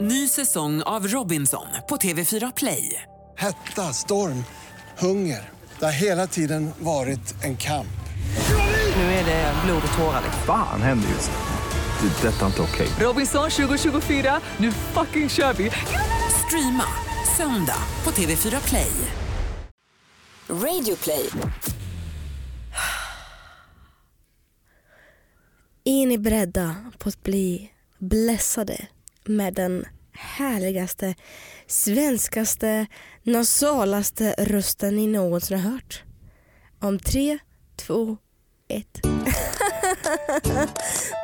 Ny säsong av Robinson på TV4 Play. Hetta, storm, hunger. Det har hela tiden varit en kamp. Nu är det blod och tårar. Fan händer just nu. Det. är Detta är inte okej. Robinson 2024, nu fucking kör vi! Streama söndag på TV4 Play. Radio play. Är ni beredda på att bli blessade med den härligaste, svenskaste, nasalaste rösten ni någonsin har hört? Om tre, två, ett.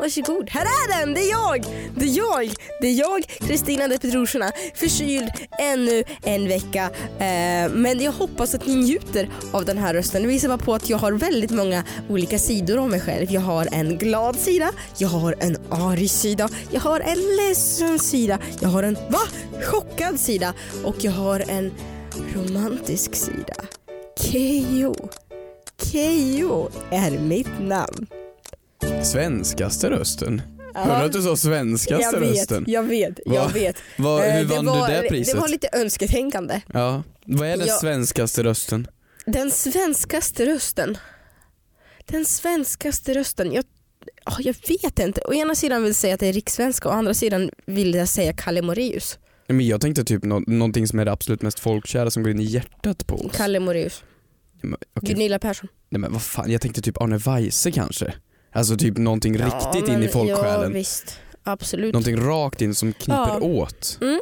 Varsågod, här är den! Det är jag! Det är jag! Det är jag, Kristina de Petrosina, förkyld ännu en vecka. Eh, men jag hoppas att ni njuter av den här rösten. Det visar bara på att jag har väldigt många olika sidor av mig själv. Jag har en glad sida, jag har en arg sida, jag har en ledsen sida, jag har en va? Chockad sida och jag har en romantisk sida. Keyyo. Keyyo är mitt namn. Svenskaste rösten? Hörde du att du sa svenskaste jag vet, rösten? jag vet, jag Vad- vet. vad- Eh, hur vann du var, det priset? Det var lite önsketänkande. Ja. Vad är den Jag- svenskaste rösten? Den svenskaste rösten. Den svenskaste rösten. Jag, ja, jag vet inte. Å ena sidan vill jag säga att det är rikssvenska, å andra sidan vill jag säga Kalle Moraeus. Men jag tänkte typ nå- någonting som är det absolut mest folkkära som går in i hjärtat på oss. Kalle Moraeus. Men, okej. Gunilla Persson. Nej men vad fan, jag tänkte typ Arne Weise kanske. Alltså typ någonting riktigt in i Ja, folksjälen. visst. Absolut. någonting rakt in som kniper Ja. åt. Mm.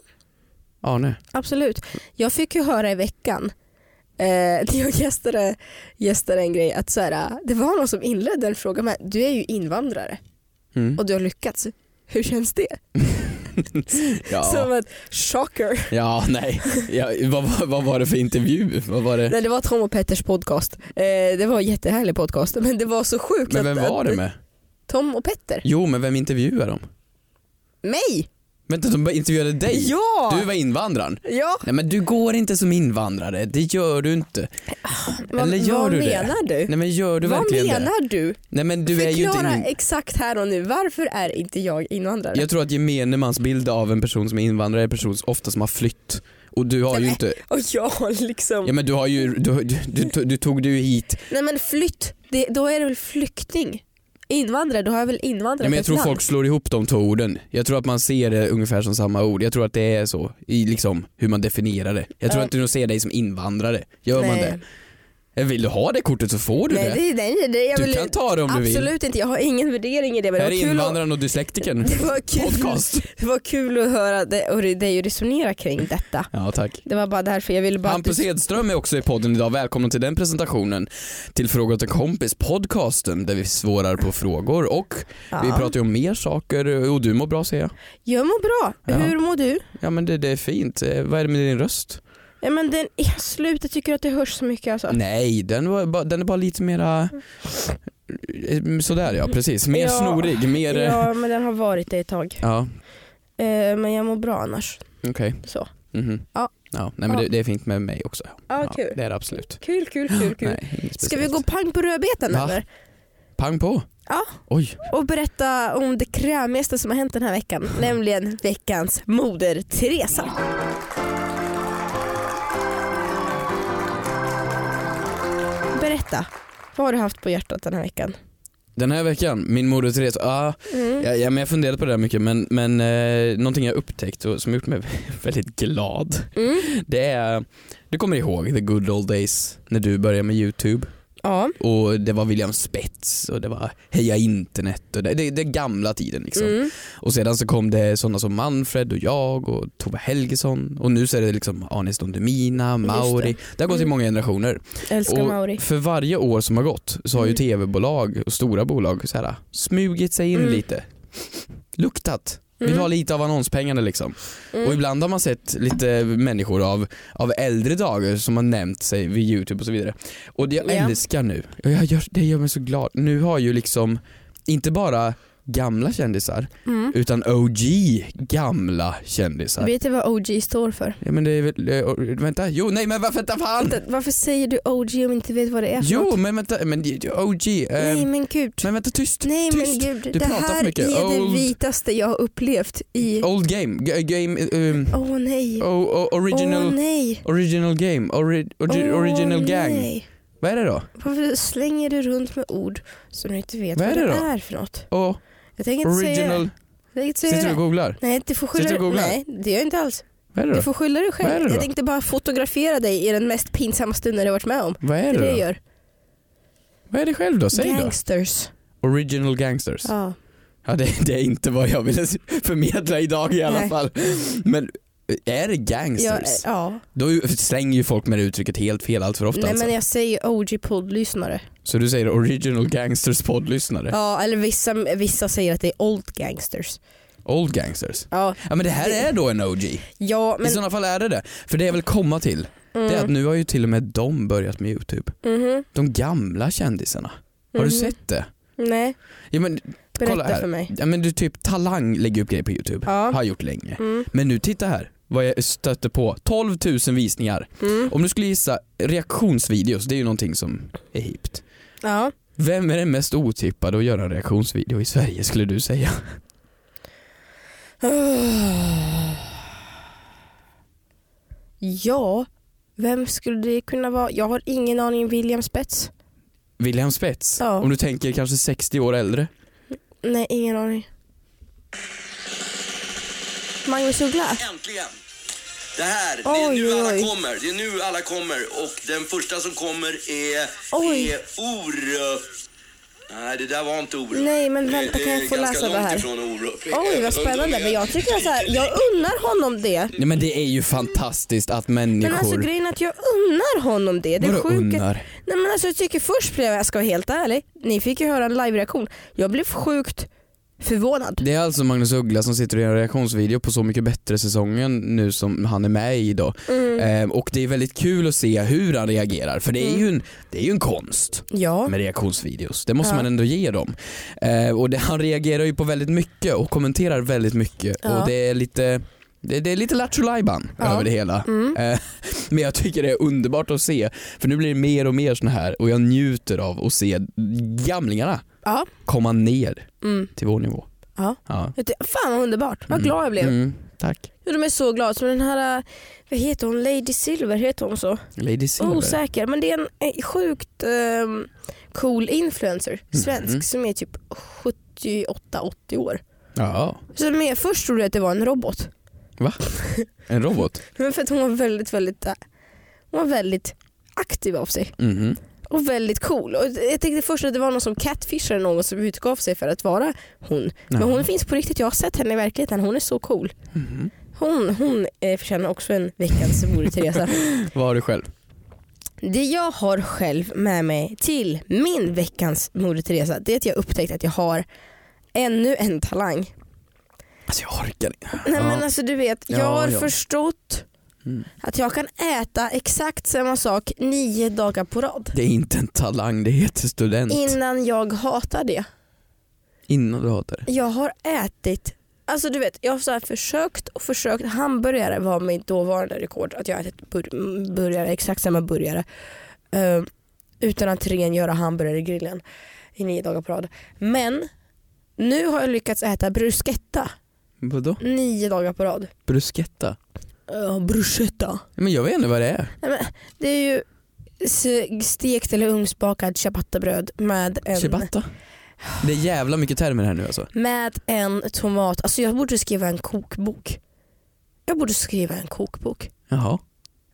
Arne. Absolut. Jag fick ju höra i veckan eh, när jag gästade, gästade en grej att så här, det var någon som inledde en fråga med du är ju invandrare Mm. och du har lyckats. Hur känns det? Som Ja. att chocker. ja, nej. Ja, vad, vad, vad var det för intervju? Vad var det? Nej, det var Tom och Petters podcast. Eh, det var en jättehärlig podcast men det var så sjukt. Men att- vem var att- det med? Tom och Petter. Jo, men vem intervjuade dem? Mig! Vänta, de intervjuade dig? Ja! Du var invandraren? Ja! Nej men du går inte som invandrare, det gör du inte. Eller gör vad du det? menar du? Nej men gör du vad verkligen det? menar du? Nej men du är ju inte Förklara in... exakt här och nu, varför är inte jag invandrare? Jag tror att gemene mans bild av en person som är invandrare är en person som ofta som har flytt. Och du har Nej, ju men- inte, Och jag liksom... ja men du har ju, du, du, du, du tog dig ju hit. Nej men flytt, det, då är det väl flykting? Invandrare, då har jag väl invandrat Nej, men jag ett tror land? folk slår ihop de två orden. Jag tror att man ser det ungefär som samma ord. Jag tror att det är så, i liksom hur man definierar det. Jag tror Ja. inte de ser dig som invandrare. Gör man Nej. det? Eh, Vill du ha det kortet så får du Nej, det. det, nej, det, jag Du vill, kan ta det om du vill. Absolut inte, jag har ingen värdering i det. Men det Här var är kul att, invandraren och dyslektikern. det, var kul, Podcast. det var kul att höra det, och det, det är ju resonera kring detta. Ja tack. Det var bara därför jag ville bara... att Hampus du- Hedström är också i podden idag, välkommen till den presentationen. Till Fråga åt en kompis podcasten där vi svarar på frågor och vi Ja. pratar ju om mer saker och du mår bra ser jag. Jag mår bra, Ja. hur mår du? Ja men det, det är fint, Eh, vad är det med din röst? Ja, men den, jag slutar tycker att det hörs så mycket alltså. Nej, den, var, bara- den är bara lite mera eh, sådär ja, precis. Mer Ja. snorig, mer... eh, Ja men den har varit det ett tag. Ja, Eh, men jag mår bra annars. okej. Så. Mhm. Ja. ja. Nej men Ja. det, det är fint med mig också. Ja, kul. Det är det absolut. Kul kul kul kul. Nej, inget Ska vi speciellt. gå pang på rödbetan Va? eller? Pang på. Ja. Oj, och berätta om det krämigaste som har hänt den här veckan, nämligen veckans moder Teresa. Berätta, vad har du haft på hjärtat den här veckan? Den här veckan, min moder Therese, ah, ja, ja, men jag funderade på det där mycket men, men eh, någonting jag upptäckt och som gjort mig väldigt glad det är, du kommer ihåg the good old days när du började med youtube Ja, och det var William Spets och det var Heja internet och det, det, det gamla tiden liksom. Mm. Och sedan så kom det sådana som Manfred och jag och Tove Helgesson och nu så är det liksom Anis Don Demina, Mauri, det. har gått i många generationer. älskar Och Mauri. Mm. För varje år som har gått så har ju tv-bolag och stora bolag så här, smugit sig Mm. in lite. Luktat. Vill ha lite av annonspengarna liksom. Mm. Och ibland har man sett lite människor av, av äldre dagar som har nämnt sig vid youtube och så vidare. Och det jag Ja. älskar nu, och jag gör, det gör mig så glad, nu har ju liksom inte bara gamla kändisar, Mm. utan OG gamla kändisar. Vet du vad OG står för? Ja, men det är väl, eh, vänta, jo nej men varför vänta fan! Vänta, Varför säger du OG om du inte vet vad det är för Jo något? men vänta, men det- OG, eh, Nej men gud. men vänta tyst, Nej men tyst. gud, Du det pratar för här mycket. är det Old- vitaste jag har upplevt i... Åh Old game, G- game, um, oh, nej. Åh o- o- original, nej. original game, ori, ori, Åh, original gang. nej. Vad är det då? Varför slänger du runt med ord som du inte vet Vad vad, är det det då? är för något? Oh, Jag tänker inte säga det. original, Jag tänker inte säga sitter du det. och googlar? Nej, du får skylla Sitter du och dig. googlar? Nej, det gör jag inte alls. Vad är det Du då? får skylla dig Vad är det själv. då? Jag tänkte bara fotografera dig i den mest pinsamma stunden du varit med om. Vad är det är det det jag då? gör. Vad är det själv då? Säg då. Gangsters. Original gangsters. Ja. Ja, det, det är inte vad jag ville förmedla idag i alla Nej. fall. Men eh, är det Jag, gangsters? ja. Då ju- slänger ju folk med det uttrycket helt fel allt för ofta Nej alltså. men jag säger OG-poddlyssnare. Så du säger original gangsters poddlyssnare? Ja, eller vissa, vissa säger att det är old gangsters. Old gangsters? Ja, Ja men det här är då en OG. ja I men... Mm. sådana fall är det det. För det jag vill komma till, det är att nu har ju till och med de börjat med YouTube. Mhm. De gamla kändisarna. Har du sett det? Nej, Ja, men, Mm. berätta kolla här. för mig. Ja, men du typ Talang lägger upp grejer på YouTube, Ja. Mm. har gjort länge. Men nu titta här vad jag stötte på, 12 000 visningar. Mm. Om du skulle gissa reaktionsvideos, det är ju någonting som är hippt. Ja. Vem är den mest otippade att göra en reaktionsvideo i Sverige skulle du säga? Ja, vem skulle det kunna vara? Jag har ingen aning. William Spets? William Spets? Ja. Om du tänker kanske 60 år äldre? Nej, ingen aning. Magnus Uggla? Äntligen! Det här, det är Oj, nu alla oj. kommer. Det är nu alla kommer och den första som kommer är, Oj. är Orup. Nej, det där var inte Orup. Nej, men vänta, Det- kan jag det är få ganska läsa det långt här? ifrån Orup. Oj, vad spännande. Men jag tycker så här, jag unnar honom det. Nej men det är ju fantastiskt att människor... Men alltså grejen är att jag unnar honom det. Det är Vadå sjukt. att- unnar? Nej men alltså jag tycker först blev jag, jag ska vara helt ärlig, ni fick ju höra en live-reaktion. Jag blev sjukt förvånad. Det är alltså Magnus Uggla som sitter och gör en reaktionsvideo på Så mycket bättre-säsongen nu som han är med i då. Mm. Ehm, och det är väldigt kul att se hur han reagerar för det är ju en, det är ju en konst Ja. med reaktionsvideos. Det måste man ändå ge dem. Eh, och det, han reagerar ju på väldigt mycket och kommenterar väldigt mycket Ja. och det är lite det, det är lite lattjo lajban över det hela. Mm. Eh, men jag tycker det är underbart att se för nu blir det mer och mer såna här och jag njuter av att se gamlingarna Ja. komma ner Mm. till vår nivå. Ja. Ja. Jag tyckte, fan vad underbart, vad Mm. glad jag blev. Mm, tack. Jag gjorde mig så glad. Som den här, äh, vad heter hon, Lady Silver, heter hon så? Lady Silver. Osäker, men det är en eh, sjukt ehm, cool influencer, Mm, svensk, som är typ 78-80 år. ja. Så med, först trodde jag att det var en robot. Va? En robot? Men för att hon var väldigt, väldigt, äh, hon var väldigt aktiv av sig. Mhm. Och väldigt cool. Och jag tänkte först att det var någon som catfishade någon som utgav sig för att vara hon. Men Ja. hon finns på riktigt, jag har sett henne i verkligheten. Hon är så cool. Mm-hmm. Hon, hon eh, förtjänar också en veckans Bore Teresa. Vad har du själv? Det jag har själv med mig till min veckans Moder Teresa det är att jag upptäckt att jag har ännu en talang. Alltså jag orkar inte. Nej Ja. men alltså du vet, jag Ja, har ja. Mm. förstått att jag kan äta exakt samma sak nio dagar på rad. Det är inte en talang, det heter student. Innan jag hatar det. Innan du hatar det. Jag har ätit, alltså du vet jag har så här försökt och försökt. Hamburgare var mitt dåvarande rekord, att jag ätit bur- burgare, exakt samma burgare. Eh, utan att rengöra hamburgare i grillen i nio dagar på rad. Men nu har jag lyckats äta bruschetta Vadå? nio dagar på rad. Bruschetta? Uh, bruschetta? Men jag vet inte vad det är. Nej, men, det är ju s- stekt eller ugnsbakad ciabattabröd med en, Ciabatta? Det är jävla mycket termer här nu alltså. med en tomat. Alltså jag borde skriva en kokbok. Jag borde skriva en kokbok. Jaha.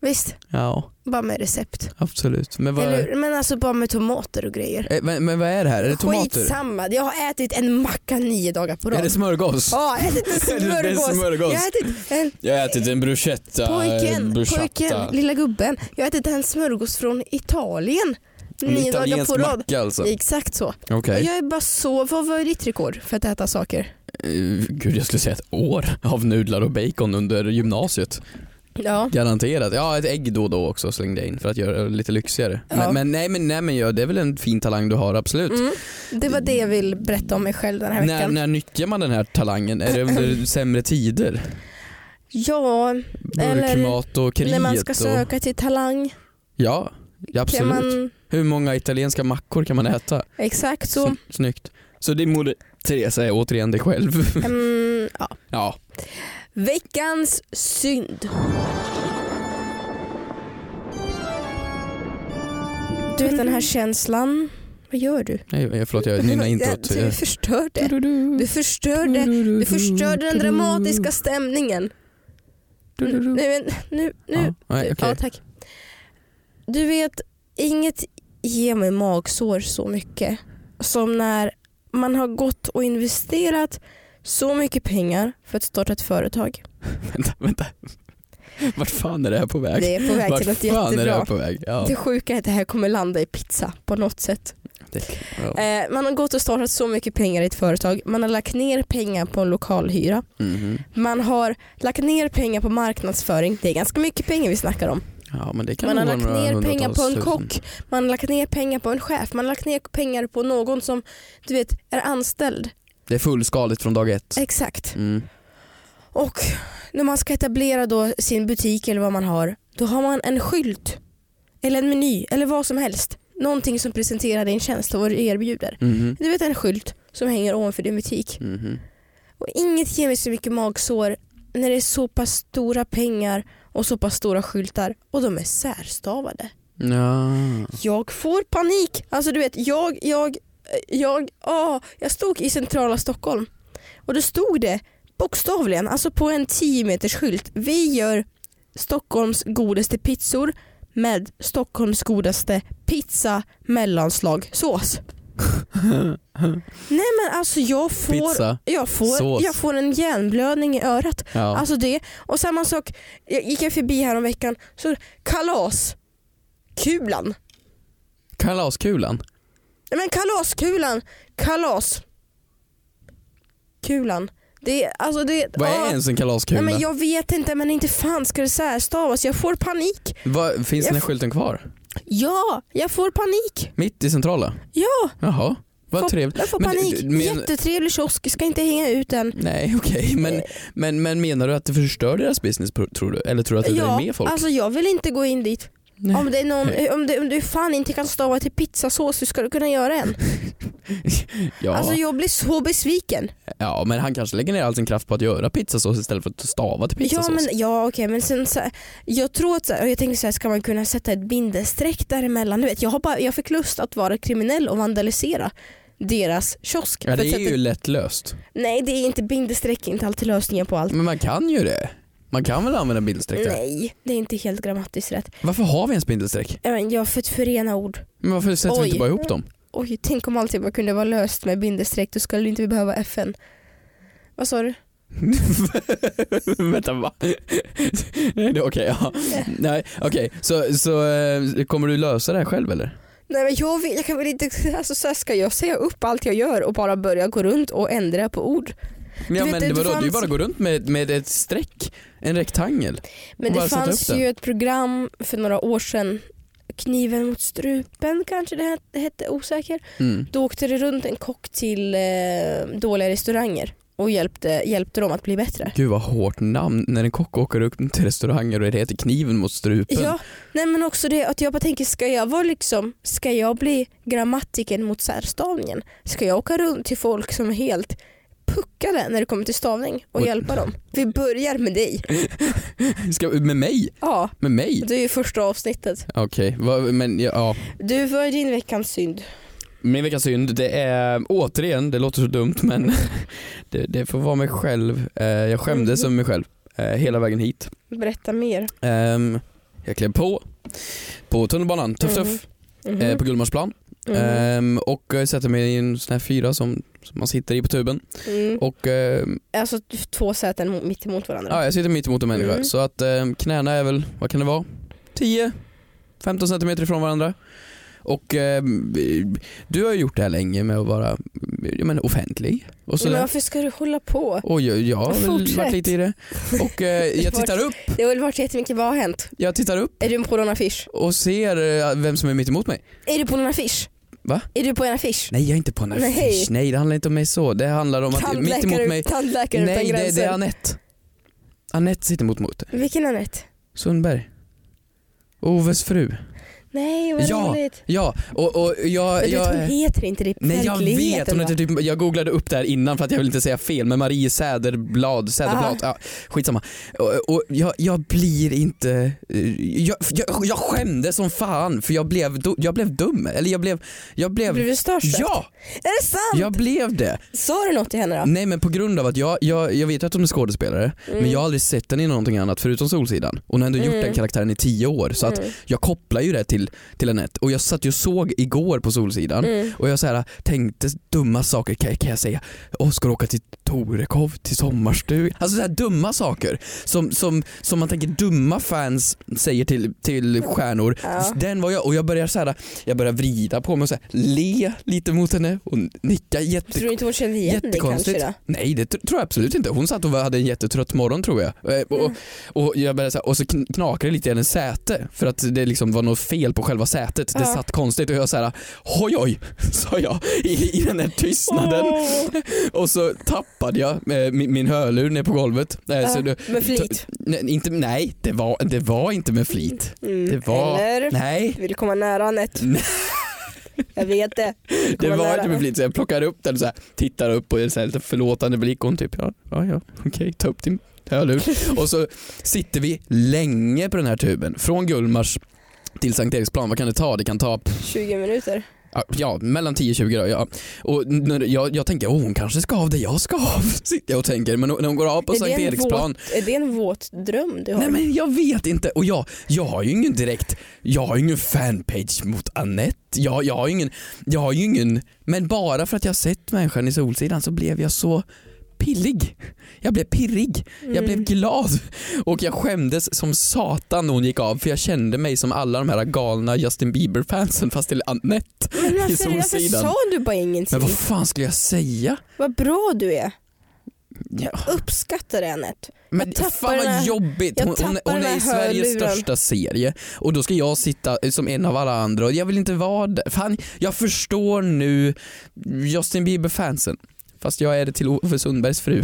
Visst, Ja, bara med recept. absolut. Men vad, Eller, men alltså bara med tomater och grejer. Eh, men, men vad är det här? Är det tomater? Skitsamma, jag har ätit en macka nio dagar på Är det rad. smörgås? Ja, jag har ätit en Det är smörgås. smörgås. Jag har ätit en Jag har ätit en bruschetta. pojken, pojken, lilla gubben. Jag har ätit en smörgås från Italien. Nio dagar på rad. macka alltså. Exakt så. Okej. Jag är bara så, vad var ditt rekord för att äta saker? Eh, Gud jag skulle säga ett år av nudlar och bacon under gymnasiet. Ja. Garanterat. Ja, ett ägg då och då också slängde jag in för att göra det lite lyxigare. Ja. Men, men nej men, nej, men ja, det är väl en fin talang du har, absolut. Det var det jag ville berätta om mig själv den här När, veckan. när nyttjar man den här talangen? Är det under sämre tider? Ja, eller Burkmat och kriget? när man ska och... söka till talang. Ja, ja, Kan absolut. man, Hur många italienska mackor kan man äta? exakt så. Sn- Snyggt. Så din moder Teresa är återigen dig själv. Mm, ja. ja. Veckans synd. Du vet den här känslan. Vad gör du? Nej, jag- förlåt jag nynnar introt. Du förstörde. Du förstörde, du förstörde den dramatiska stämningen. Nu, nu, nu, nu. Ja, nej, okej. Ja, tack. Du vet, inget ger mig magsår så mycket som när man har gått och investerat så mycket pengar för att starta ett företag. Vänta, vänta. Vart fan är det här på väg? Det är på väg Vart till något fan är det här jättebra. på väg? Ja. Det sjuka är att det här kommer landa i pizza på något sätt. Det, ja. Eh, man har gått och startat så mycket pengar i ett företag. Man har lagt ner pengar på en lokalhyra. Mhm. Man har lagt ner pengar på marknadsföring. Det är ganska mycket pengar vi snackar om. ja men det kan Man har nog lagt vara några ner pengar på hundratals en tusen. kock. Man har lagt ner pengar på en chef. Man har lagt ner pengar på någon som du vet är anställd. Det är fullskaligt från dag ett. Exakt. Mm. Och när man ska etablera då sin butik eller vad man har, då har man en skylt eller en meny eller vad som helst. Någonting som presenterar din tjänst och vad du erbjuder. Mhm. Du vet en skylt som hänger ovanför din butik. Mhm. Och inget ger mig så mycket magsår när det är så pass stora pengar och så pass stora skyltar och de är särstavade. Ja. Jag får panik. Alltså du vet, jag, jag, jag, ah, jag stod i centrala Stockholm och då stod det bokstavligen, alltså på en 10 meters skylt. Vi gör Stockholms godaste pizzor med Stockholms godaste pizza mellanslag sås. Nej men alltså jag får, Pizza. jag får, Sås. jag får en hjärnblödning i örat. Ja. Alltså det. Och samma sak, jag gick jag förbi här om veckan så kalas. Kulan. Kalaskulan. Nej men kalaskulan, kalas. Kulan. Det är, alltså det Vad är ah. ens en kalaskula? Nej men jag vet inte men inte fan ska det särstavas. Jag får panik. Vad- finns den här Jag- skylten kvar? Ja, jag får panik. Mitt i centrala? Ja, Jaha, vad får, trevligt. jag får Men- eh, panik. men- Jättetrevlig kiosk, ska inte hänga ut den. Nej okej, men, men, men menar du att det förstör deras business pro- tror du? Eller tror du att det drar Ja, med folk? alltså jag vill inte gå in dit. Nej. Om, det är någon, Nej. om, det, om du fan inte kan stava till pizzasås, hur ska du kunna göra en? ja, Alltså jag blir så besviken. ja, men han kanske lägger ner all sin kraft på att göra pizzasås istället för att stava till pizzasås. Ja, men, ja okej men sen så här, jag tror att så här, och jag tänker så här, ska man kunna sätta ett bindestreck däremellan? Du vet, jag, har bara, jag fick lust att vara kriminell och vandalisera deras kiosk. ja, För det att är sätta- ju lätt löst. Nej det är inte bindestreck, inte alltid lösningen på allt. Men man kan ju det. Man kan väl använda bindestreck där? Nej, det är inte helt grammatiskt rätt. Varför har vi ens bindestreck? Jag, men, jag har fått förena ord. Men varför sätter Oj. vi inte bara ihop dem? Oj, tänk om allting bara kunde vara löst med bindestreck, då skulle inte vi behöva FN. Vad sa du? Mm. Vänta va? Nej, det är okej, ja. Nej, okej. Så, så eh, kommer du lösa det här själv eller? Nej men jag, vet, jag kan väl inte, alltså så här ska jag säga upp allt jag gör och bara börja gå runt och ändra på ord? Men Ja, vet, men det- det, det vadå, det är ju fanns- bara att gå runt med, med ett streck, en rektangel. Men Och det bara sätta fanns upp den. ju ett program för några år sedan, Kniven mot strupen kanske det het- hette, osäker. Mm. Då åkte det runt en kock till eh, dåliga restauranger och hjälpte, hjälpte dem att bli bättre. Gud vad hårt namn när en kock åker upp till restauranger och det heter kniven mot strupen. Ja, nej men också det att jag bara tänker, ska jag vara liksom, ska jag bli grammatiken mot särstavningen? Ska jag åka runt till folk som är helt puckade när det kommer till stavning och Oj. hjälpa dem? Vi börjar med dig. Ska, med mig? Ja, Med mig? det är ju första avsnittet. Okej, vad- men ja, ja. Du, vad är din veckans synd? Min veckans synd, det är återigen, det låter så dumt men det, det får vara mig själv. Eh, Jag skämdes Mm. över mig själv eh, hela vägen hit. Berätta mer. Ehm, Jag klev på, på tunnelbanan, tuff Mhm. tuff, Mhm. eh, på Gullmarsplan. Mm. Ehm, Och eh, sätter mig i en sån här fyra som, som man sitter i på tuben. Mm. Och ehm, Alltså t- två säten mo- mitt emot varandra. Ja, jag sitter mitt emot en människa. Mm. Så ehm, att eh, knäna är väl, vad kan det vara? 10-15 centimeter ifrån varandra. Och eh, du har ju gjort det här länge med att vara jag menar, offentlig och Men sådär. varför ska du hålla på? Och jag, jag har väl Fortsätt. varit lite i det. Och eh, jag tittar upp, Det har väl varit jättemycket, vad har hänt? jag tittar upp Är du på någon affisch? och ser eh, vem som är mitt emot mig. Är du på någon affisch? Va? Är du på en affisch? Nej jag är inte på en Nej. affisch, nej det handlar inte om mig så. Det handlar om att mitt emot mig, tandläkare utan nej det, gränser. det är Anette. Anette sitter mot mot Vilken Anette? Sundberg. Oves fru. Nej vad Ja, roligt. Ja, och, och jag... Men du vet, jag hon heter inte det i Nej jag vet, verkligheten, hon va? heter typ, jag googlade upp det här innan för att jag vill inte säga fel men Marie Säderblad, Säderblad, Ah. ja, skitsamma. Och, och jag, jag blir inte, eh, jag, jag, jag skämdes som fan för jag blev, do- jag blev dum, eller jag blev, jag blev, Blev du störst? ja Är det sant? jag blev det. Sa du något till henne då? Nej men på grund av att jag, jag, jag vet ju att hon är skådespelare Mm. men jag har aldrig sett henne i någonting annat förutom Solsidan. Och hon har ändå gjort den karaktären i tio år så Mm. att jag kopplar ju det till, till Anette. Och jag satt ju och såg igår på Solsidan Mm. och jag så här, tänkte dumma saker, kan, kan jag säga Oskar åka till Torekov till sommarstugan? Alltså så här dumma saker som, som, som man tänker dumma fans säger till, till stjärnor. Den var jag och jag börjar så här, jag börjar vrida på mig och så här, le lite mot henne och nicka jätte Tror du inte hon kände igen dig kanske Jättekonstigt. då? Nej det tr- tror jag absolut inte. Hon satt och var- hade en jättetrött morgon tror jag. Eh, Mm. Och, och, jag började så här, och så kn- knakade det lite i hennes säte för att det liksom var något fel på själva sätet. Det Ja. satt konstigt och jag så här, oj oj, sa jag i, i den här tystnaden. Och så tappade jag eh, min, min hörlur ner på golvet. Eh, så Ja, då- med flit. Nej, inte, nej det, var, det var inte med flit. Mm, Det var... Eller? Nej. Vill du komma nära Anette? Nej. jag vet det. Vill du Det komma var nära? inte med flit så jag plockar upp den så här, tittar upp och är så här lite förlåtande blick och hon typ ja, ja, ja okej, ta upp din hörlur. och så sitter vi länge på den här tuben från Gullmars till Sankt Eriksplan, vad kan det ta? Det kan ta 20 minuter. ja, ja, mellan 10-20 då. Ja. Och när jag, jag tänker, åh hon kanske ska av det jag ska av. Sitter jag och tänker, men när hon går av på är, Sankt det en Eriksplan våt, är det en våt dröm du har? Nej men jag vet inte och jag, jag har ju ingen direkt, jag har ju ingen fanpage mot Annette. Jag, jag har ju ingen, jag har ju ingen, men bara för att jag sett människan i Solsidan så blev jag så pillig. Jag blev pirrig, jag blev glad och jag skämdes som satan när hon gick av för jag kände mig som alla de här galna Justin Bieber-fansen fast till Annette Men i varför, varför Solsidan. Alltså, sa du bara ingenting? Men vad Vad... fan skulle jag säga? bra du är. Ja. Uppskattar det Anette. Men tappar fan den här- vad jobbigt. jag Hon, hon, tappar hon den här är i Sveriges hörluren. största serie och då ska jag sitta som en av alla andra och jag vill inte vara där. Fan, jag förstår nu Justin Bieber-fansen. Fast jag är det till Ove Sundbergs fru.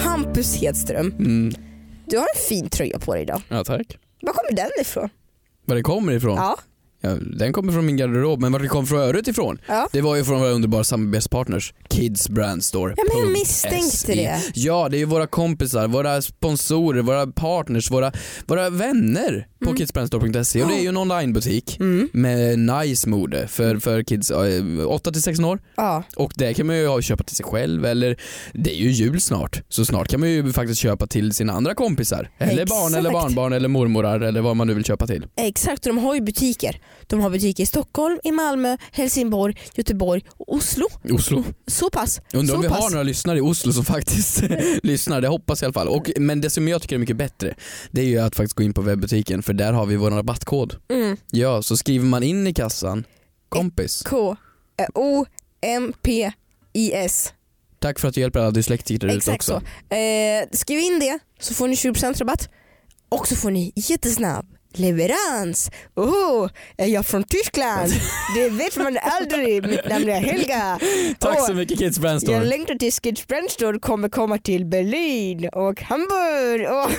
Hampus Hedström, Mm. du har en fin tröja på dig idag. Ja tack. Var kommer den ifrån? Var det kommer ifrån? Ja. Ja, den kommer från min garderob, men var det kom från öret ifrån? Ja. Det var ju från våra underbara samarbetspartners, Kids Brand Store. Ja, men jag Punkt misstänkte SE. det. Ja, det är ju våra kompisar, våra sponsorer, våra partners, våra, våra vänner på Mm. kidsbrandstore.se och det är ju en onlinebutik med nice mode för, för kids eh, 8-16 år ja. och det kan man ju ha- köpa till sig själv eller det är ju jul snart så snart kan man ju faktiskt köpa till sina andra kompisar eller barn eller Exakt. barnbarn eller mormorar eller vad man nu vill köpa till. Exakt, och de har ju butiker. De har butiker i Stockholm, i Malmö, Helsingborg, Göteborg och Oslo. Oslo. Så pass. Undrar så om vi pass. har några lyssnare i Oslo som faktiskt lyssnar, det hoppas jag i alla fall. Och, men det som jag tycker är mycket bättre, det är ju att faktiskt gå in på webbutiken för där har vi vår rabattkod. Mm. Ja, så skriver man in i kassan, kompis, K eh, O M P I S. tack för att du hjälper alla dyslektiker där ute Exakt också. så. Eh, skriv in det så får ni 20% rabatt och så får ni jättesnabb leverans. Oh, är jag från Tyskland? Det vet man aldrig. Mitt namn är Helga. Tack Åh, så mycket Kids Brand Jag Store. längtar tills Kids Brandstore kommer komma till Berlin och Hamburg och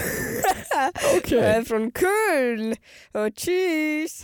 Okej. jag är från Köln. Och tjus!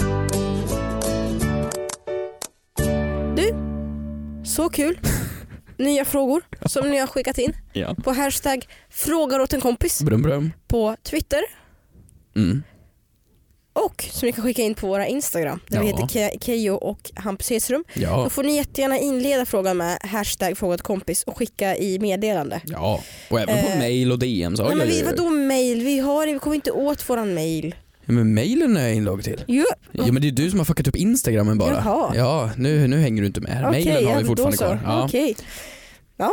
Du, så kul nya frågor som ni har skickat in Ja. på hashtag frågar åt en kompis Brum brum. på Twitter Mm. och som ni kan skicka in på våra Instagram där vi Ja. heter Ke- Keyyo och Hampus Hedström. Då Ja. får ni jättegärna inleda frågan med hashtag frågat kompis och skicka i meddelande. Ja. Och även på Eh, mail och DM. Så har Nej, men jag vi, ju- vadå mail? Vi, har, vi kommer inte åt våran mail. Ja, men mailen är jag inlogg till. Jo, Ja men det är du som har fuckat upp instagrammen bara. Jaha. Ja, nu, nu hänger du inte med här. okej, Mailen har ja, vi då fortfarande så. kvar. Ja. Okej.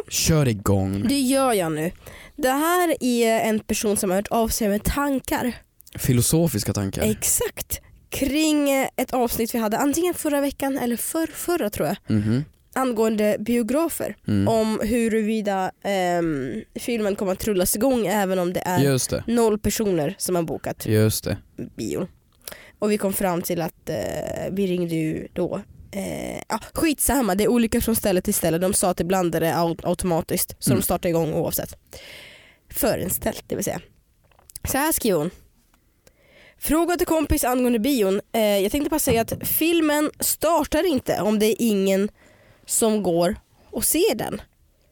Kör igång. Det gör jag nu. Det här är en person som har hört av sig med tankar. Filosofiska tankar. Exakt. Kring eh, ett avsnitt vi hade antingen förra veckan eller för, förra tror jag. Mhm. Angående biografer. Mm. Om huruvida ehm, filmen kommer att trullas igång även om det är Just det. noll personer som har bokat Just det. bio. Och vi kom fram till att eh, vi ringde ju då Eh, ja, skitsamma, det är olika från ställe till ställe. De sa att det blandade au- automatiskt så de startar igång oavsett. Förinställt det vill säga. Så här skriver hon. Fråga till kompis angående bion. Eh, jag tänkte bara säga att filmen startar inte om det är ingen som går och ser den.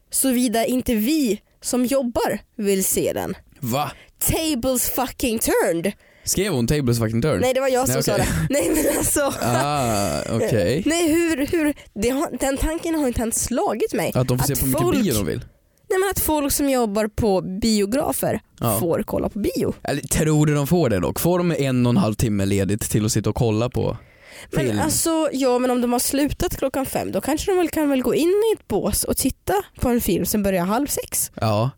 Såvida inte vi som jobbar vill se den. Va? Tables fucking turned! Skrev hon tables fucking turn? Nej det var jag som Nej, sa okej. det. Nej men alltså. Ah, okej. Nej hur, hur det har, den tanken har inte ens slagit mig. Att de får se på hur mycket bio de vill? Nej men att folk som jobbar på biografer Ja. får kolla på bio. Eller tror du de får det dock? Får de en och en halv timme ledigt till att sitta och kolla på Men film? alltså ja men om de har slutat klockan fem då kanske de väl kan väl gå in i ett bås och titta på en film som börjar halv sex. Ja.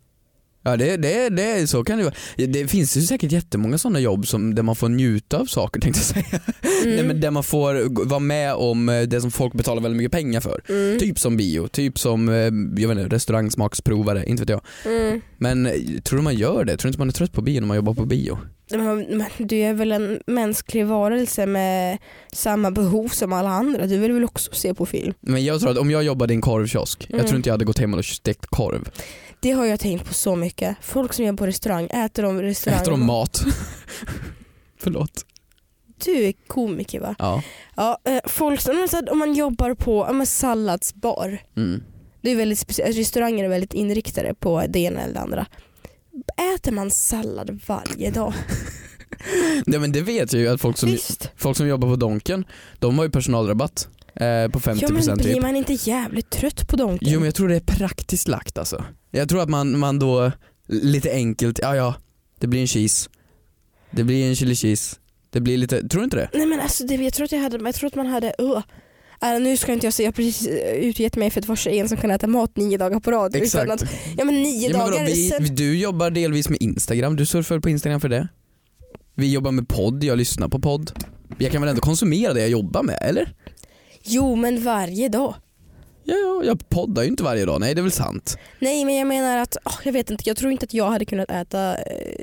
Ja det, det, det, så kan det vara. Det finns ju säkert jättemånga sådana jobb som, där man får njuta av saker tänkte jag säga. Nej, men där man får g- vara med om eh, det som folk betalar väldigt mycket pengar för. Typ som bio, typ som eh, jag vet inte, restaurangsmaksprovare, inte vet jag. Men eh, tror du man gör det? Tror du inte man är trött på bio när man jobbar på bio? Men, men du är väl en mänsklig varelse med samma behov som alla andra. Du vill väl också se på film? Men jag tror att om jag jobbade i en korvkiosk, jag Mm. tror inte jag hade gått hem och stekt korv. Det har jag tänkt på så mycket. Folk som jobbar på restaurang, äter de restaurang? Äter de mat? Förlåt. Du är komiker va? Ja. Ja, eh, folk som men så att om man jobbar på ja, men salladsbar, Mm. det är väldigt speciellt, restauranger är väldigt inriktade på det ena eller det andra. Äter man sallad varje dag? Nej men det vet jag ju att folk som, Visst? folk som jobbar på Donken, de har ju personalrabatt eh, på 50% Ja men typ. blir man inte jävligt trött på donken? Jo men jag tror det är praktiskt lagt alltså. Jag tror att man, man då lite enkelt, ja ja, det blir en cheese. Det blir en chili cheese. Det blir lite, tror du inte det? Nej men alltså det, jag tror att jag hade, jag tror att man hade, uh. Äh, nu ska inte jag säga, jag har precis eh, utgett mig för att vara tjejen som kan äta mat nio dagar på rad. utan Exakt. Att, ja men nio Ja, men vadå, dagar vi, sen, vi- du jobbar delvis med Instagram, du surfar på Instagram för det. Vi jobbar med podd, jag lyssnar på podd. Jag kan väl ändå konsumera det jag jobbar med, eller? Jo men varje dag. Ja, ja, jag poddar ju inte varje dag, nej det är väl sant. Nej men jag menar att, åh, jag vet inte, jag tror inte att jag hade kunnat äta eh,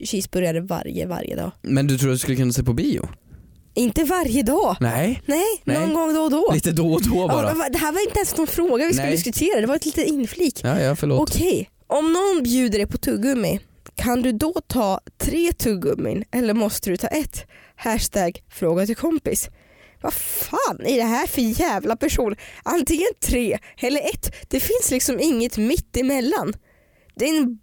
cheeseburgare varje, varje dag. Men du tror att du skulle kunna se på bio? Inte varje dag. Nej, Nej, Nej. någon gång då och då. lite då och då Ja, bara. men vad- det här var inte ens någon fråga vi skulle Nej. diskutera, det var ett litet inflik. Ja, ja förlåt. Okej, om någon bjuder dig på tuggummi, kan du då ta tre tuggummin eller måste du ta ett? Hashtag fråga till kompis. Vad fan är det här för jävla person? Antingen tre eller ett. Det finns liksom inget mitt emellan. Det är en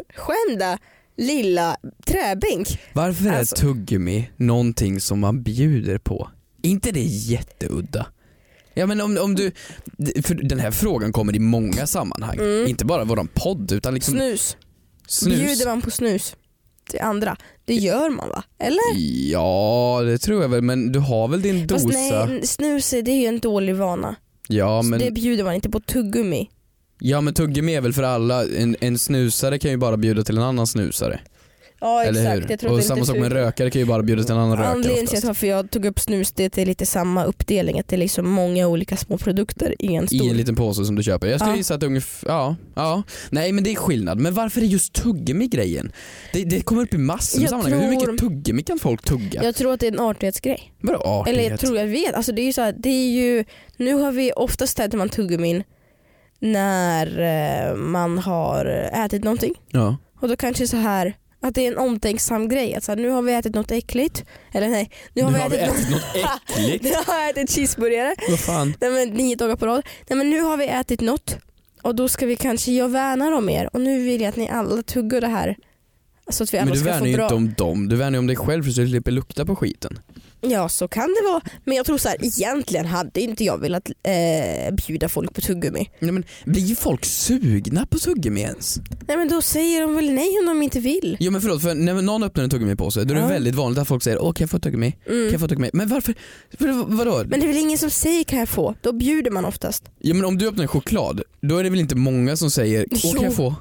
bortskämda lilla träbänk. Varför är Alltså- tuggummi någonting som man bjuder på? Är inte det jätteudda? Ja men om, om du, för den här frågan kommer i många sammanhang. Inte bara våran podd utan liksom Mm. Snus. snus. Bjuder man på snus till andra, det gör man va? Eller? Ja det tror jag väl men du har väl din dosa? Fast nej, snus det är ju en dålig vana. ja, Så men, Det bjuder man inte på tuggummi. ja men tuggummi är väl för alla, en, en snusare kan ju bara bjuda till en annan snusare. Ja eller hur? Och samma sak med en rökare kan ju bara bjuda till en annan rökare Anledningen till oftast. att varför jag tog upp snus det är att det är lite samma uppdelning, att det är liksom många olika små produkter i en stor. I en liten påse som du köper. Jag skulle Ja. gissa att det är ungefär, ja, ja. Nej men det är skillnad. Men varför är just tuggummi grejen? Det, det kommer upp i massor med Jag sammanhang. Hur tror- mycket tuggummi kan folk tugga? Jag tror att det är en artighetsgrej. Vadå artighet? Eller jag tror jag vet. Alltså det är ju så här, det är ju, nu har vi oftast äter man tuggummin när eh, man har ätit någonting. Ja. Och då kanske så här, Att det är en omtänksam grej. Att så här, nu har vi ätit något äckligt. Eller nej, nu har, Nu vi, har vi ätit ätit något äckligt. nu har jag ätit cheeseburgare. Vad fan? Nej men nio dagar på rad. Nej men nu har vi ätit något och då ska vi kanske, jag värnar om er och nu vill jag att ni alla tuggar det här. Så att vi alla Men du ska värnar få ju bra. inte om dem, du värnar ju om dig själv för att du slipper lukta på skiten. Ja så kan det vara. Men jag tror så här, egentligen hade inte jag velat eh, bjuda folk på tuggummi. Nej, men blir folk sugna på tuggummi ens? Nej men då säger de väl nej om de inte vill. Jo men förlåt, för när någon öppnar en tuggummipåse då är det Ja. Mm. väldigt vanligt att folk säger åh kan jag få ett tuggummi? Kan jag få ett tuggummi? Men varför? För, vadå? Men det är väl ingen som säger kan jag få? Då bjuder man oftast. Ja men om du öppnar en choklad, då är det väl inte många som säger åh Jo. kan jag få?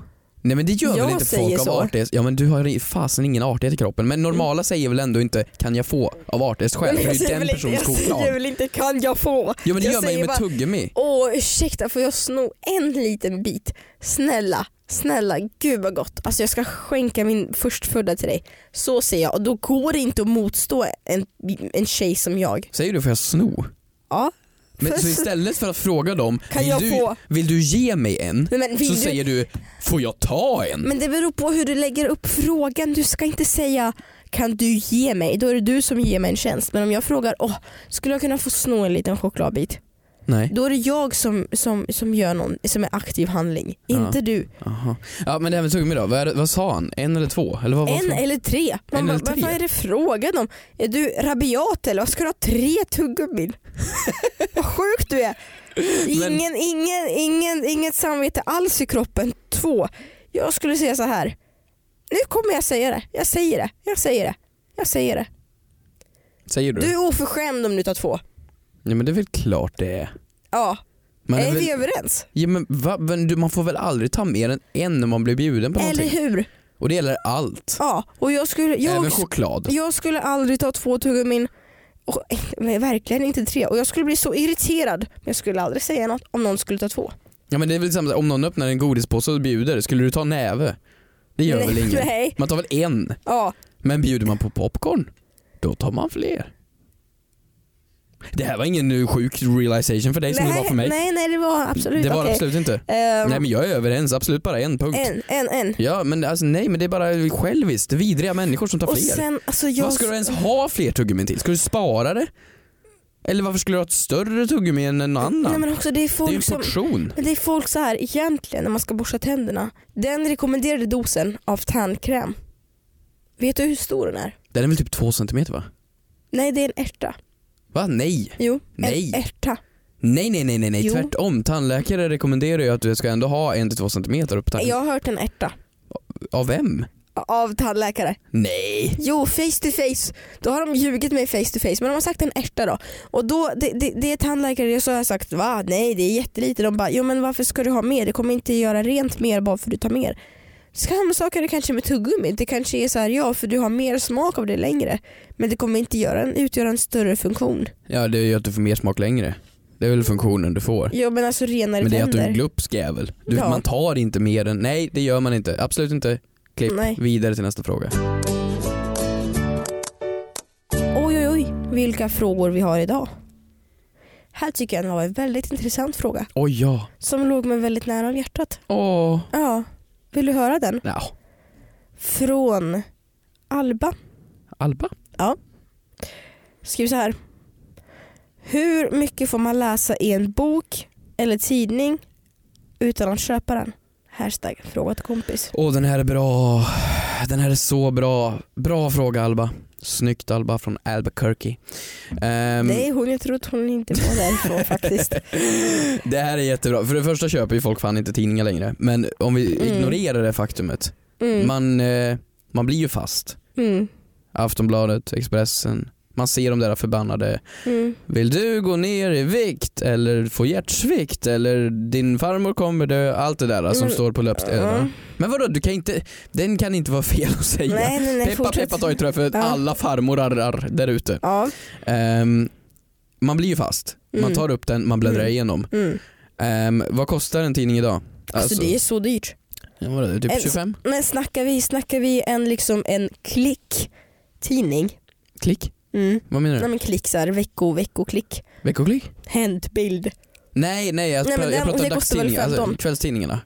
Nej men det gör Jag väl inte säger folk så. av artighet? Ja men du har i- fasen ingen artighet i kroppen. Men normala säger väl ändå inte kan jag få av artighetsskäl? Men För det är jag ju säger den väl inte- personens Jag säger choklad. väl inte kan jag få? Ja men det jag gör man ju säger med bara, tuggummi. Åh ursäkta får jag sno en liten bit? Snälla, snälla gud vad gott. Alltså jag ska skänka min förstfödda till dig. Så säger jag och då går det inte att motstå en, en tjej som jag. Säger du får jag sno? Ja. Men, För- så istället för att fråga dem, Kan vill, jag du, få?" vill du ge mig en? Nej, men vill så du- säger du, får jag ta en? Men det beror på hur du lägger upp frågan. Du ska inte säga kan du ge mig? Då är det du som ger mig en tjänst. Men om jag frågar åh, skulle jag kunna få sno en liten chokladbit? Nej. Då är det jag som, som, som gör någon som är aktiv handling, Ja. inte du. Aha. Ja men det här med tuggummi då, vad, är det- vad sa han? En eller två? Eller vad var En frågan? eller tre. Man En bara, eller tre? Vad fan är det frågan om? Är du rabiat eller? Vad ska du ha tre tuggummin? vad sjuk du är. Men- Ingen, ingen, ingen, inget samvete alls i kroppen. Två. Jag skulle säga så här. Nu kommer jag säga det. Jag säger det. Jag säger det. Jag säger det. Säger du? Du är oförskämd om du tar två. Nej men det är väl klart det är. Ja, Man, är är väl, vi överens? ja, men, va, men du, man får väl aldrig ta mer än en när man blir bjuden på Eller någonting? hur? Och det gäller allt. Ja, och jag skulle... Jag, Även choklad. Jag skulle aldrig ta två tuggummin. Och, nej, verkligen inte tre. Och jag skulle bli så irriterad. Men jag skulle aldrig säga något om någon skulle ta två. Ja men det är väl samma, om någon öppnar en godispåse och bjuder, skulle du ta näve? Det gör Nej, väl ingen? nej. Man tar väl en? Ja, Men bjuder man på popcorn, då tar man fler. Det här var ingen eh, sjuk realization för dig som det var för mig. nej, nej det var absolut det var det okej. absolut inte. Ehm, Nej men jag är överens, absolut bara en punkt. En, en, en. Ja men alltså nej men det är bara själviskt, vidriga människor som tar Och fler. sen, alltså jag... Vad ska du ens ha fler tuggummin till? Ska du spara det? Eller varför skulle du ha ett större tuggummi än en annan? Nej men liksom- också det är det är folk ju en som... portion. Men det är folk så här egentligen när man ska borsta tänderna. Den rekommenderade dosen av tandkräm. Vet du hur stor den är? Den är väl typ två centimeter va? Nej det är en ärta. Va? Nej. Jo, Nej. en ärta. Nej nej nej nej, nej. Jo. tvärtom. Tandläkare rekommenderar ju att du ska ändå ha en till två centimeter upp tanden. Jag har hört en ärta. Av vem? Av tandläkare. Nej. Jo, face to face. Då har de ljugit mig face to face. Men de har sagt en ärta då. Och då, det, det, det är tandläkare så har jag sagt va? Nej det är jättelite. De bara, jo men varför ska du ha mer? Det kommer inte göra rent mer bara för du tar mer. Samma sak är det kanske med tuggummi. Det kanske är så här, ja för du har mer smak av det längre. Men det kommer inte göra en, utgöra en större funktion. Ja det är ju att du får mer smak längre. Det är väl funktionen du får. Jo men alltså renare Men det är att du är en tänder. glupsk jävel. Du, Ja. Man tar inte mer än, nej det gör man inte. Absolut inte. Klipp Nej. vidare till nästa fråga. Oj oj oj, vilka frågor vi har idag. Här tycker jag det var en väldigt intressant fråga. Oj ja. Som låg mig väldigt nära om hjärtat. Åh. Ja, vill du höra den? Ja. från Alba. Alba? Skriv så här. Hur mycket får man läsa i en bok eller tidning utan att köpa den? Hashtag fråga till kompis. Åh den här är bra. Den här är så bra. Bra fråga Alba. Snyggt Alba från Albuquerque. Ehm, Nej, hon jag tror att hon inte var därifrån faktiskt. det här är jättebra. För det första köper ju folk fan inte tidningar längre. Men om vi Mm. ignorerar det faktumet. Mm. Man, eh, man blir ju fast. Mm. Aftonbladet, Expressen. Man ser de där förbannade Mm. Vill du gå ner i vikt eller få hjärtsvikt eller din farmor kommer dö, allt det där alltså, som Mm. står på löpsedlarna. Ja. Men vadå, du kan inte, den kan inte vara fel att säga. Nej, nej, nej. peppa fortsätt. peppa ta i trä för Ja. alla farmorar där ute. Ja. Ehm, man blir ju fast, man Mm. tar upp den, man bläddrar Mm. igenom. Mm. Ehm, vad kostar en tidning idag? Alltså, det är så dyrt. ja, vadå, det är en- typ 25 Men snackar vi, snackar vi en, liksom en klick tidning? klick? Mm. Vad menar Nej du? men klick så här, vecko, veckoklick. Veckoklick? Händbild. Nej, nej jag, Nej, pra- men jag den- pratar det kostar väl dagstidningar, alltså, 15. kvällstidningarna.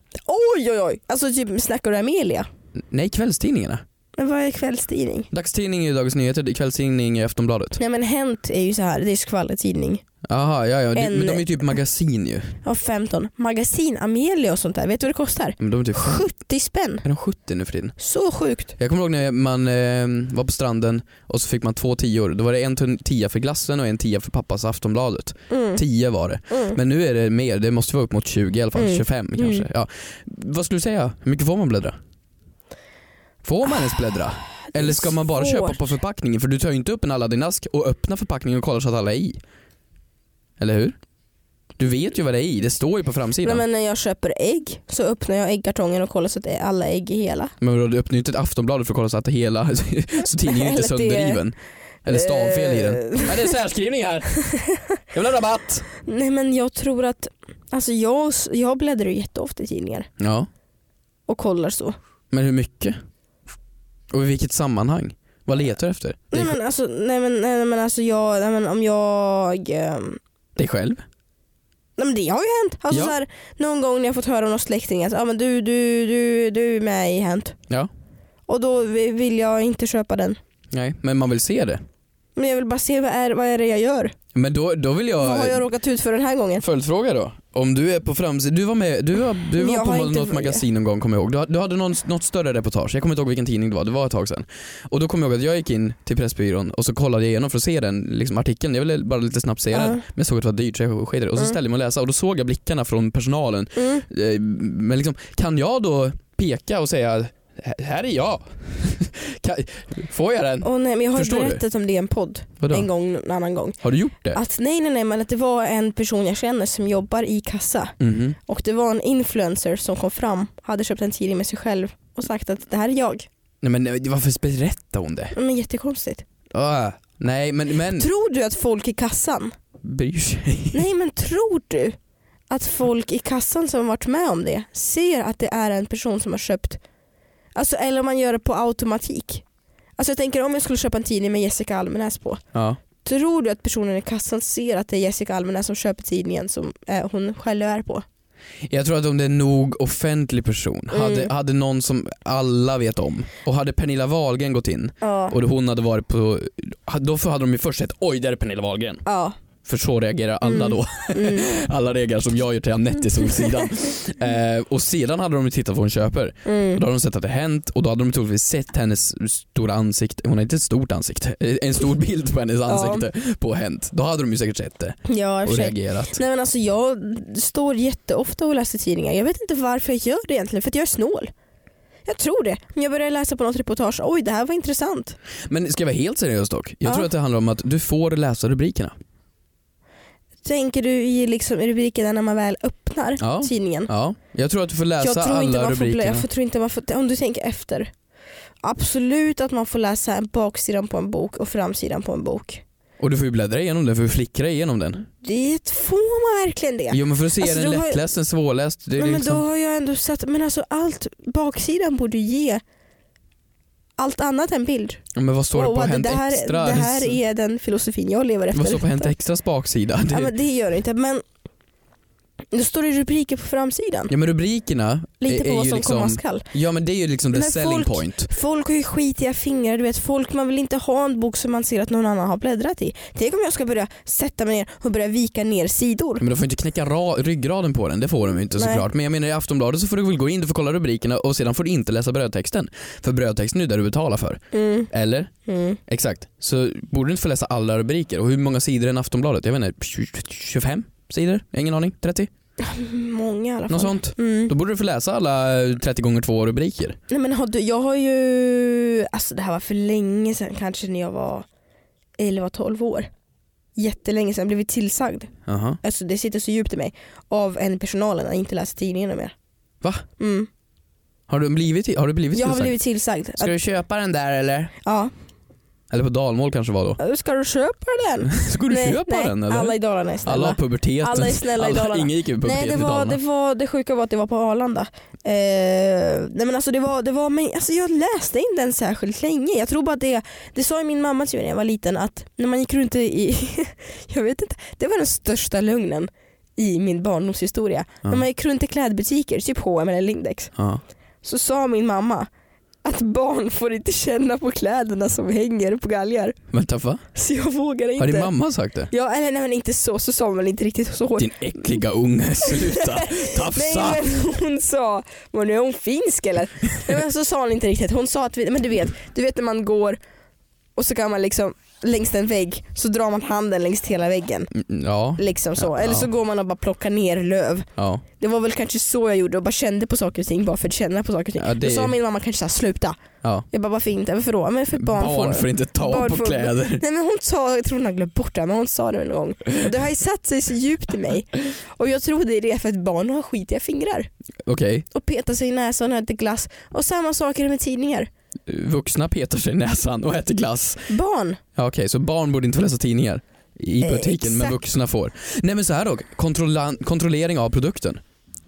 Oj oj oj! Alltså typ snackar du Amelia? Nej, kvällstidningarna. Men vad är kvällstidning? Dagstidning är ju Dagens Nyheter, kvällstidning är Aftonbladet. Nej men Hänt är ju så här, det är ju skvallertidning. Jaha, ja ja. En- Men de är ju typ magasin ju. Ja 15. Magasin, Amelia och sånt där, vet du vad det kostar? Men de är typ 70 spänn. är de 70 nu för tiden. Så sjukt. Jag kommer ihåg när man eh, var på stranden och så fick man två tior. Då var det en tun- tia för glassen och en tia för pappas Aftonbladet. Mm. Tio var det. Men nu är det mer, det måste vara upp mot 20 i alla fall, Mm. 25 kanske. Ja. Vad skulle du säga, hur mycket får man bläddra? Får man ens bläddra? Eller ska man bara köpa på svårt. förpackningen? För du tar ju inte upp en Aladdin-ask och öppnar förpackningen och kollar så att alla är i. Eller hur? Du vet ju vad det är i, det står ju på Nej, framsidan. men när jag köper ägg så öppnar jag äggkartongen och kollar så att det är alla ägg i hela. Men vadå, du öppnar ju inte ett Aftonbladet för att kolla så att det hela, så tidningen är Eller att inte det- sönderriven. Eller stavfel i den. Ja, det är särskrivning här. Jag vill ha rabatt. Nej men jag tror att, alltså jag, jag bläddrar ju jätteofta i tidningar Ja, och kollar så. men hur mycket? Och i vilket sammanhang? Vad letar du efter? Nej Dig, men alltså, nej men, nej, men alltså jag, nej men om jag, ehm, dig själv? nej men det har ju hänt. Alltså Ja. så här, någon gång när jag fått höra av någon släkting att ah, men du, du, du, du är med i Hänt. Ja. Och då vi- vill jag inte köpa den. Nej, men man vill se det. Men jag vill bara se vad är, vad är det jag gör? Men då, då vill jag... Vad har jag råkat ut för den här gången? Följdfråga då. Om du är på framsidan, du var med, du var, du Men var jag på har något inte- magasin någon gång kommer jag ihåg. Du, du hade någon, något större reportage, jag kommer inte ihåg vilken tidning det var, det var ett tag sedan. Och då kommer jag ihåg att jag gick in till Pressbyrån och så kollade jag igenom för att se den liksom, artikeln, jag ville bara lite snabbt se den. Men jag såg att det var dyrt så jag sket i det. Och så Mm. ställde jag mig och läsa och då såg jag blickarna från personalen. Eh, Men liksom, kan jag då peka och säga "Här- här är jag. Kan- Får jag den? Åh nej men jag har ju Förstår du? berättat om det i en podd Vadå? en gång, Ah. en annan gång. Har du gjort det? Att nej nej nej men att det var en person jag känner som jobbar i kassa Mhm. och det var en influencer som kom fram, hade köpt en tidning med sig själv och sagt att det här är jag. Nej men nej, varför berättar hon det? Men jättekonstigt. Ah, nej men, men Tror du att folk i kassan, bryr sig. nej men tror du att folk i kassan som varit med om det ser att det är en person som har köpt, alltså eller om man gör det på automatik. Alltså jag tänker om jag skulle köpa en tidning med Jessica Almenäs på, Ja. tror du att personen i kassan ser att det är Jessica Almenäs som köper tidningen som eh, hon själv är på? Jag tror att om det är nog offentlig person, Mm. hade, hade någon som alla vet om och hade Pernilla Wahlgren gått in Ja. och hon hade varit på, då hade de ju först sett oj där är Pernilla Wahlgren. Ja. För så reagerar alla Mm. då. alla reagerar som jag gör till Anette i Solsidan. eh, och sedan hade de ju tittat på vad hon köper. Mm. Och då hade de sett att det hänt och då hade de troligtvis sett hennes stora ansikte, hon har inte ett stort ansikte, eh, en stor bild på hennes ansikte på hänt. Då hade de ju säkert sett det Ja, i och och för sig. reagerat. Nej men alltså jag står jätteofta och läser tidningar. Jag vet inte varför jag gör det egentligen, för att jag är snål. Jag tror det. Men jag börjar läsa på något reportage, oj det här var intressant. Men ska jag vara helt seriös dock, jag Ja. Mm. tror att det handlar om att du får läsa rubrikerna. Tänker du i liksom rubrikerna när man väl öppnar Ja. tidningen? Ja, jag tror att du får läsa Jag tror, inte alla man får, rubrikerna. blä- jag tror inte man får, om du tänker efter. Absolut att man får läsa en baksidan på en bok och framsidan på en bok. Och du får ju bläddra igenom den, får ju flickra igenom den. Det får man verkligen det. Jo men för att se, Alltså, är då den har- lättläst, den svårläst? Det är Nej, men liksom... då har jag ändå sett, men alltså allt, baksidan borde ju ge allt annat än bild. Ja, men vad står det Åh, på Hänt det, här, Extra? det här är den filosofin jag lever efter. Vad står på Hänt Extras baksida? Det... ja, men det gör det inte men då står det rubriker på framsidan. rubrikerna Lite är, på är vad ju som komma liksom... skall. Ja men det är ju liksom the Men selling folk- point. Folk har ju skitiga fingrar, du vet folk man vill inte ha en bok som man ser att någon annan har bläddrat i. Tänk om jag ska börja sätta mig ner och börja vika ner sidor. Men du får inte knäcka ra- ryggraden på den, det får de ju inte Nej. såklart. Men jag menar i Aftonbladet så får du väl gå in, du får kolla rubrikerna och sedan får du inte läsa brödtexten. För brödtexten är ju där du betalar för. Mm. Eller? Exakt. Så borde du inte få läsa alla rubriker. Och hur många sidor är en Aftonbladet? Jag vet inte, 25 sidor? Jag har Ingen aning. 30? Många i alla fall. Något sånt. Mm. Då borde du få läsa alla eh, 30 gånger två rubriker. Nej men har du, jag har ju, alltså det här var för länge sedan kanske när jag var 11-12 år. Jättelänge sedan, blivit tillsagd. Aha. Alltså det sitter så djupt i mig av en i personalen att inte läsa tidningen mer. Va? Mm. Har du blivit, har du blivit Jag har tillsagd? blivit tillsagd. Att, Ska du köpa den där eller? ja. Eller på dalmål kanske var då. Ska du köpa den? Ska du nej, köpa nej. den eller? Alla i Dalarna är snälla. Alla har puberteten. Alla är snälla i Dalarna. Ingen gick ju i puberteten Nej det i var, Dalarna. det var, det sjuka var att det var på Arlanda. Eh, nej men alltså det var, det var men, alltså jag läste inte den särskilt länge. Jag tror bara att det, det sa ju min mamma till mig när jag var liten att när man gick runt i, jag vet inte, det var den största lögnen i min barndomshistoria. När man gick runt i klädbutiker, typ H&M eller Lindex, Ja. så sa min mamma att barn får inte känna på kläderna som hänger på galgar. Vänta va? Så jag vågar inte. Har din mamma sagt det? Ja, eller nej men inte så, så sa man inte riktigt så hårt. Din äckliga unge, sluta tafsa! Nej men hon sa, men nu är hon finsk eller? Nej, men så sa hon inte riktigt. Hon sa att, vi, men du vet, du vet när man går och så kan man liksom längs en vägg så drar man handen längs hela väggen. Mm, Ja, Liksom så. Ja, Eller så ja. går man och bara plockar ner löv. ja. Det var väl kanske så jag gjorde och bara kände på saker och ting bara för att känna på saker och ting. Ja, det- Då sa min mamma kanske såhär, sluta. ja. Jag bara, varför inte? Varför då? Men för barn, Barn får inte ta barn på får- kläder. Nej men hon sa, jag tror hon har glömt bort det här, men hon sa det en gång. Och Det har ju satt sig så djupt i mig. Och jag tror det är det för att barn har skitiga fingrar. Okej, Och petar sig i näsan och äter glass. Och samma sak är det med tidningar. vuxna petar sig i näsan och äter glass. Barn. Ja, Okej, så barn borde inte få läsa tidningar i Eh, butiken men exakt. vuxna får. Nej men så här dock, kontrollan- kontrollering av produkten.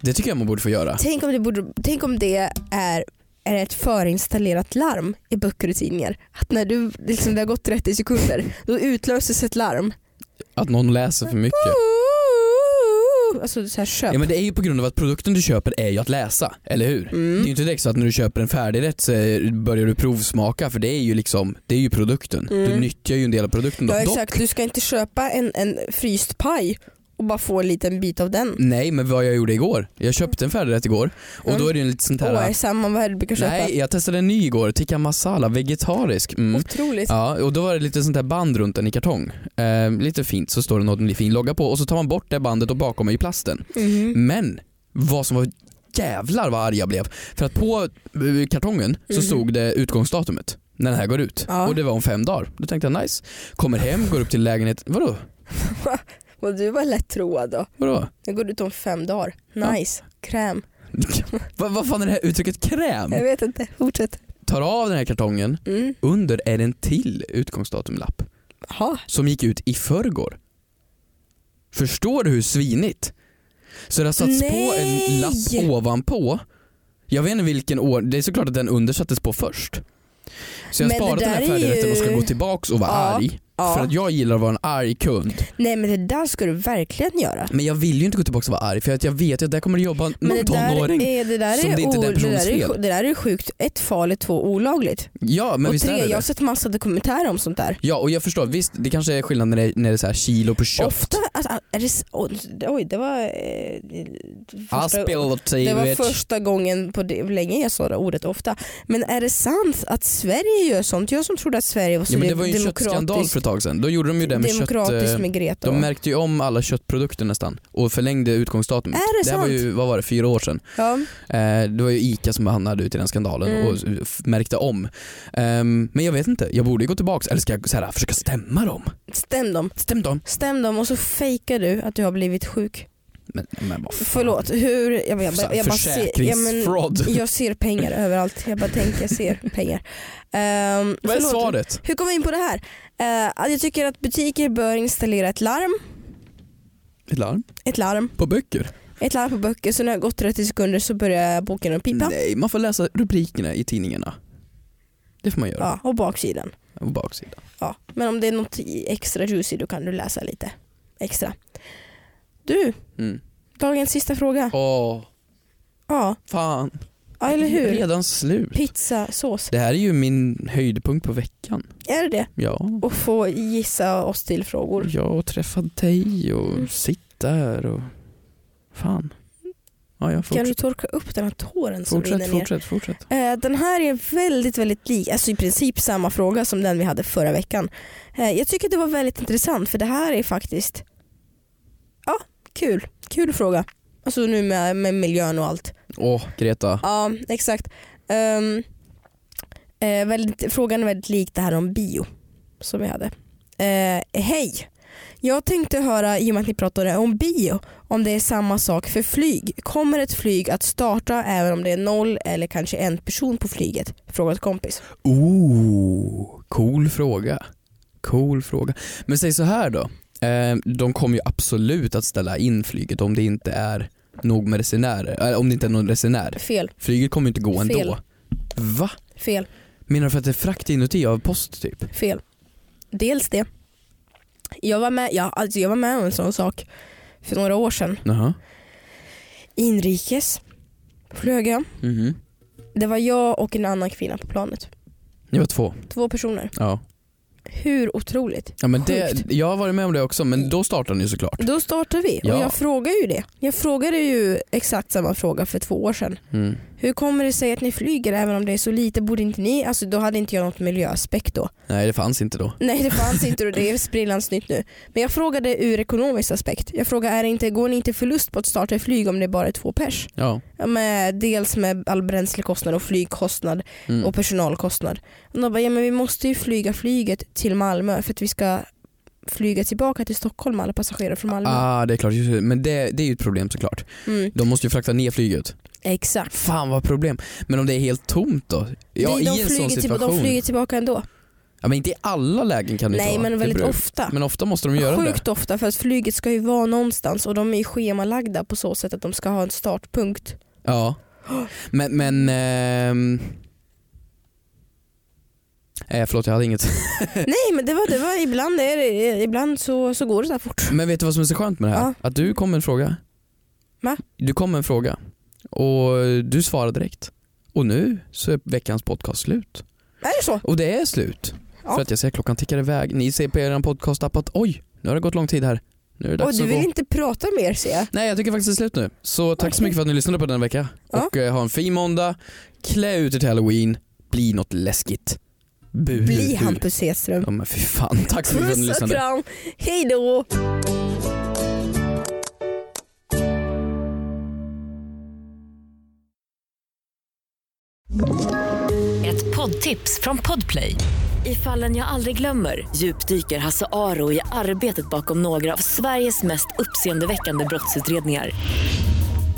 Det tycker jag man borde få göra. Tänk om det, borde, tänk om det är, är ett förinstallerat larm i böcker och tidningar. Att när du, liksom, det har gått 30 sekunder, då utlöses ett larm. Att någon läser för mycket. Alltså så här, köp. Ja men det är ju på grund av att produkten du köper är ju att läsa, eller hur? Mm. Det är ju inte direkt så att när du köper en färdigrätt så eh, börjar du provsmaka för det är ju liksom, det är ju produkten. Du nyttjar ju en del av produkten. Mm. Ja Dock- exakt, du ska inte köpa en, en fryst paj och bara få en liten bit av den. Nej men vad jag gjorde igår, jag köpte en färdigrätt igår och då är det ju en lite sånt Mm. Åh, här är samma vad är det du brukar köpa? Nej, jag testade en ny igår, tikka masala, vegetarisk. Mm. Otroligt. Ja, och då var det lite sånt där band runt den i kartong. Eh, lite fint, så står det något med fin logga på och så tar man bort det bandet och bakom är ju plasten. Mm-hmm. Mm. Men vad som var jävlar vad arg jag blev. För att på eh, kartongen så stod det utgångsdatumet när den här går ut. Mm. Ja. Och det var om fem dagar. Då tänkte jag nice. Kommer hem, går upp till lägenheten. Vadå? Och du var lätt troad då. Vadå? Jag går ut om fem dagar. Ja. Nice. Kräm. Vad vad fan är det här uttrycket kräm? Jag vet inte, fortsätt. Tar av den här kartongen, Mm. under är det en till utgångsdatumlapp. Jaha. som gick ut i förrgår. Förstår du hur svinigt? Så det har satts på en Nej! lapp ovanpå. Jag vet inte vilken år, det är såklart att den under sattes på först. Så jag Men har det sparat den här där är färdigheten och ska ju- gå tillbaks och vara Ja, arg. ja. För att jag gillar att vara en arg kund. Nej men det där ska du verkligen göra. Men jag vill ju inte gå tillbaks och vara arg för att jag vet ju att där kommer det jobba Men någon det där, tonåring. är, det, där som är, det inte är o- den det, personens där är, fel. sj- det där är sjukt. Ett farligt, två olagligt. Ja men och visst tre, är det jag har det. sett massa dokumentärer om sånt där. Ja och jag förstår, visst det kanske är skillnad när det, när det är så här kilo på kött. Ofta, alltså, är det, s- oj, oj det var... Eh, första- I spilled tea, Det var bitch. första gången på det, länge jag sa det ordet ofta. Men är det sant att Sverige gör sånt? Jag som trodde att Sverige var så Ja, men det var ju en köttskandal demokratiskt, för ett tag sedan. Då gjorde de ju det med demokratiskt kött... eh, med Greta. De märkte ju om alla köttprodukter nästan och förlängde utgångsdatumet. Är det här var sant? ju, vad var det, fyra år sedan. ja. Eh, det var ju ICA som hamnade ut i den skandalen Mm. och f- märkte om. Ehm, men jag vet inte, jag borde ju gå tillbaks eller ska jag så här, försöka stämma dem? Stäm dem. Stäm dem? Stäm dem och så fejkar du att du har blivit sjuk. Men, men vad fan. Förlåt, hur... Jag, jag, jag, Så här, jag, bara ser, ja, men, Försäkringsfraud. jag ser pengar överallt. Jag bara tänker, jag ser pengar. Um, vad är svaret? Hur kom vi in på det här? Eh, att jag tycker att butiker bör installera ett larm. Ett larm? Ett larm. På böcker? Ett larm på böcker så när det har gått 30 sekunder så börjar boken att pipa. Nej, man får läsa rubrikerna i tidningarna. Det får man göra. Ja, och baksidan. På baksidan. Ja. Men om det är något i- extra juicy då kan du läsa lite extra. Du, Mm. dagens sista fråga. Åh, Ja, fan. ja eller hur? Redan slut. Pizza, sås. Det här är ju min höjdpunkt på veckan. Är det det? Ja. Och få gissa oss till frågor. Ja, och träffa dig och Mm. sitt där och... Fan. Ja, Kan du ja, fortsätt. torka upp den här tåren som rinner Fortsätt, ner? fortsätt, fortsätt. Eh, Den här är väldigt, väldigt lik, alltså i princip samma fråga som den vi hade förra veckan. Eh, Jag tycker det var väldigt intressant för det här är faktiskt, ja, kul. Kul fråga. Alltså nu med, med miljön och allt. Åh, Greta. Ja, exakt. Ehm, eh, väldigt, frågan är väldigt lik det här om bio som vi hade. Eh, Hej! Jag tänkte höra, i och med att ni pratade om bio, om det är samma sak för flyg. Kommer ett flyg att starta även om det är noll eller kanske en person på flyget? Frågat kompis. Oh, cool fråga. Cool fråga. Men säg så här då. Eh, De kommer ju absolut att ställa in flyget om det inte är nog med resenärer. Eh, Om det inte är någon resenär. Fel, Flyget kommer ju inte gå ändå. Fel. Va? fel, Menar du för att det är frakt inuti av post typ? fel. Dels det. Jag var med, ja, alltså jag var med om en sån sak för några år sedan. Jaha. Inrikes flög jag. Mhm. Det var jag och en annan kvinna på planet. Ni var två. Två personer. Ja. Hur otroligt. ja men det, Sjukt. jag har varit med om det också, men då startade ni såklart. Då startar vi Ja. och jag frågar ju det. Jag frågade ju exakt samma fråga för två år sedan. Mm. Hur kommer det sig att ni flyger även om det är så lite? Borde inte ni, alltså då hade inte jag något miljöaspekt då. Nej, det fanns inte då. Nej det fanns inte och det är sprillans nytt nu. Men jag frågade ur ekonomisk aspekt. Jag frågade, är det inte, går ni inte förlust på att starta ett flyg om det bara är två pers? Ja. Ja, Med, dels med all bränslekostnad och flygkostnad Mm. och personalkostnad. Och de bara, ja, men vi måste ju flyga flyget till Malmö för att vi ska flyga tillbaka till Stockholm alla passagerare från Malmö. Ah, det är klart. just det. Men det, det är ju ett problem såklart. Mm, De måste ju frakta ner flyget. exakt. Fan vad problem. Men om det är helt tomt då? Ja, de, i de, en sån flyger till, situation. de flyger tillbaka ändå. Ja, men inte i alla lägen kan det Nej inte vara. men Det väldigt beror- ofta. Men ofta måste de göra Sjukt ofta för att flyget ska ju vara någonstans och de är ju schemalagda på så sätt att de ska ha en startpunkt. det. Ja. Men, men... ehm. Eh, förlåt jag hade inget. Nej men det var, det var ibland, är det, ibland så, så går det så här fort. Men vet du vad som är så skönt med det här? Typ. Ja. Att du kom med en fråga. Va? Du kom med en fråga och du svarade direkt. Och nu så är veckans podcast slut. Är det så? Och det är slut. Ja. För att jag ser att klockan tickar iväg. Ni ser på er podcastapp att oj, nu har det gått lång tid här. Nu är det Och dags du att gå. vill inte prata mer ser jag. Nej jag tycker faktiskt det är slut nu. Så tack så mycket för att ni lyssnade på den vecka. Ja. Och eh, ha en fin måndag. Klä ut er till halloween. Bli något läskigt. Bu, Bli bu. Hampus Hedström. Ja men fy fan. Tack så mycket för att ni Puss och lyssnade. kram, hejdå! Ett poddtips från Podplay. I fallen jag aldrig glömmer djupdyker Hasse Aro i arbetet bakom några av Sveriges mest uppseendeväckande brottsutredningar.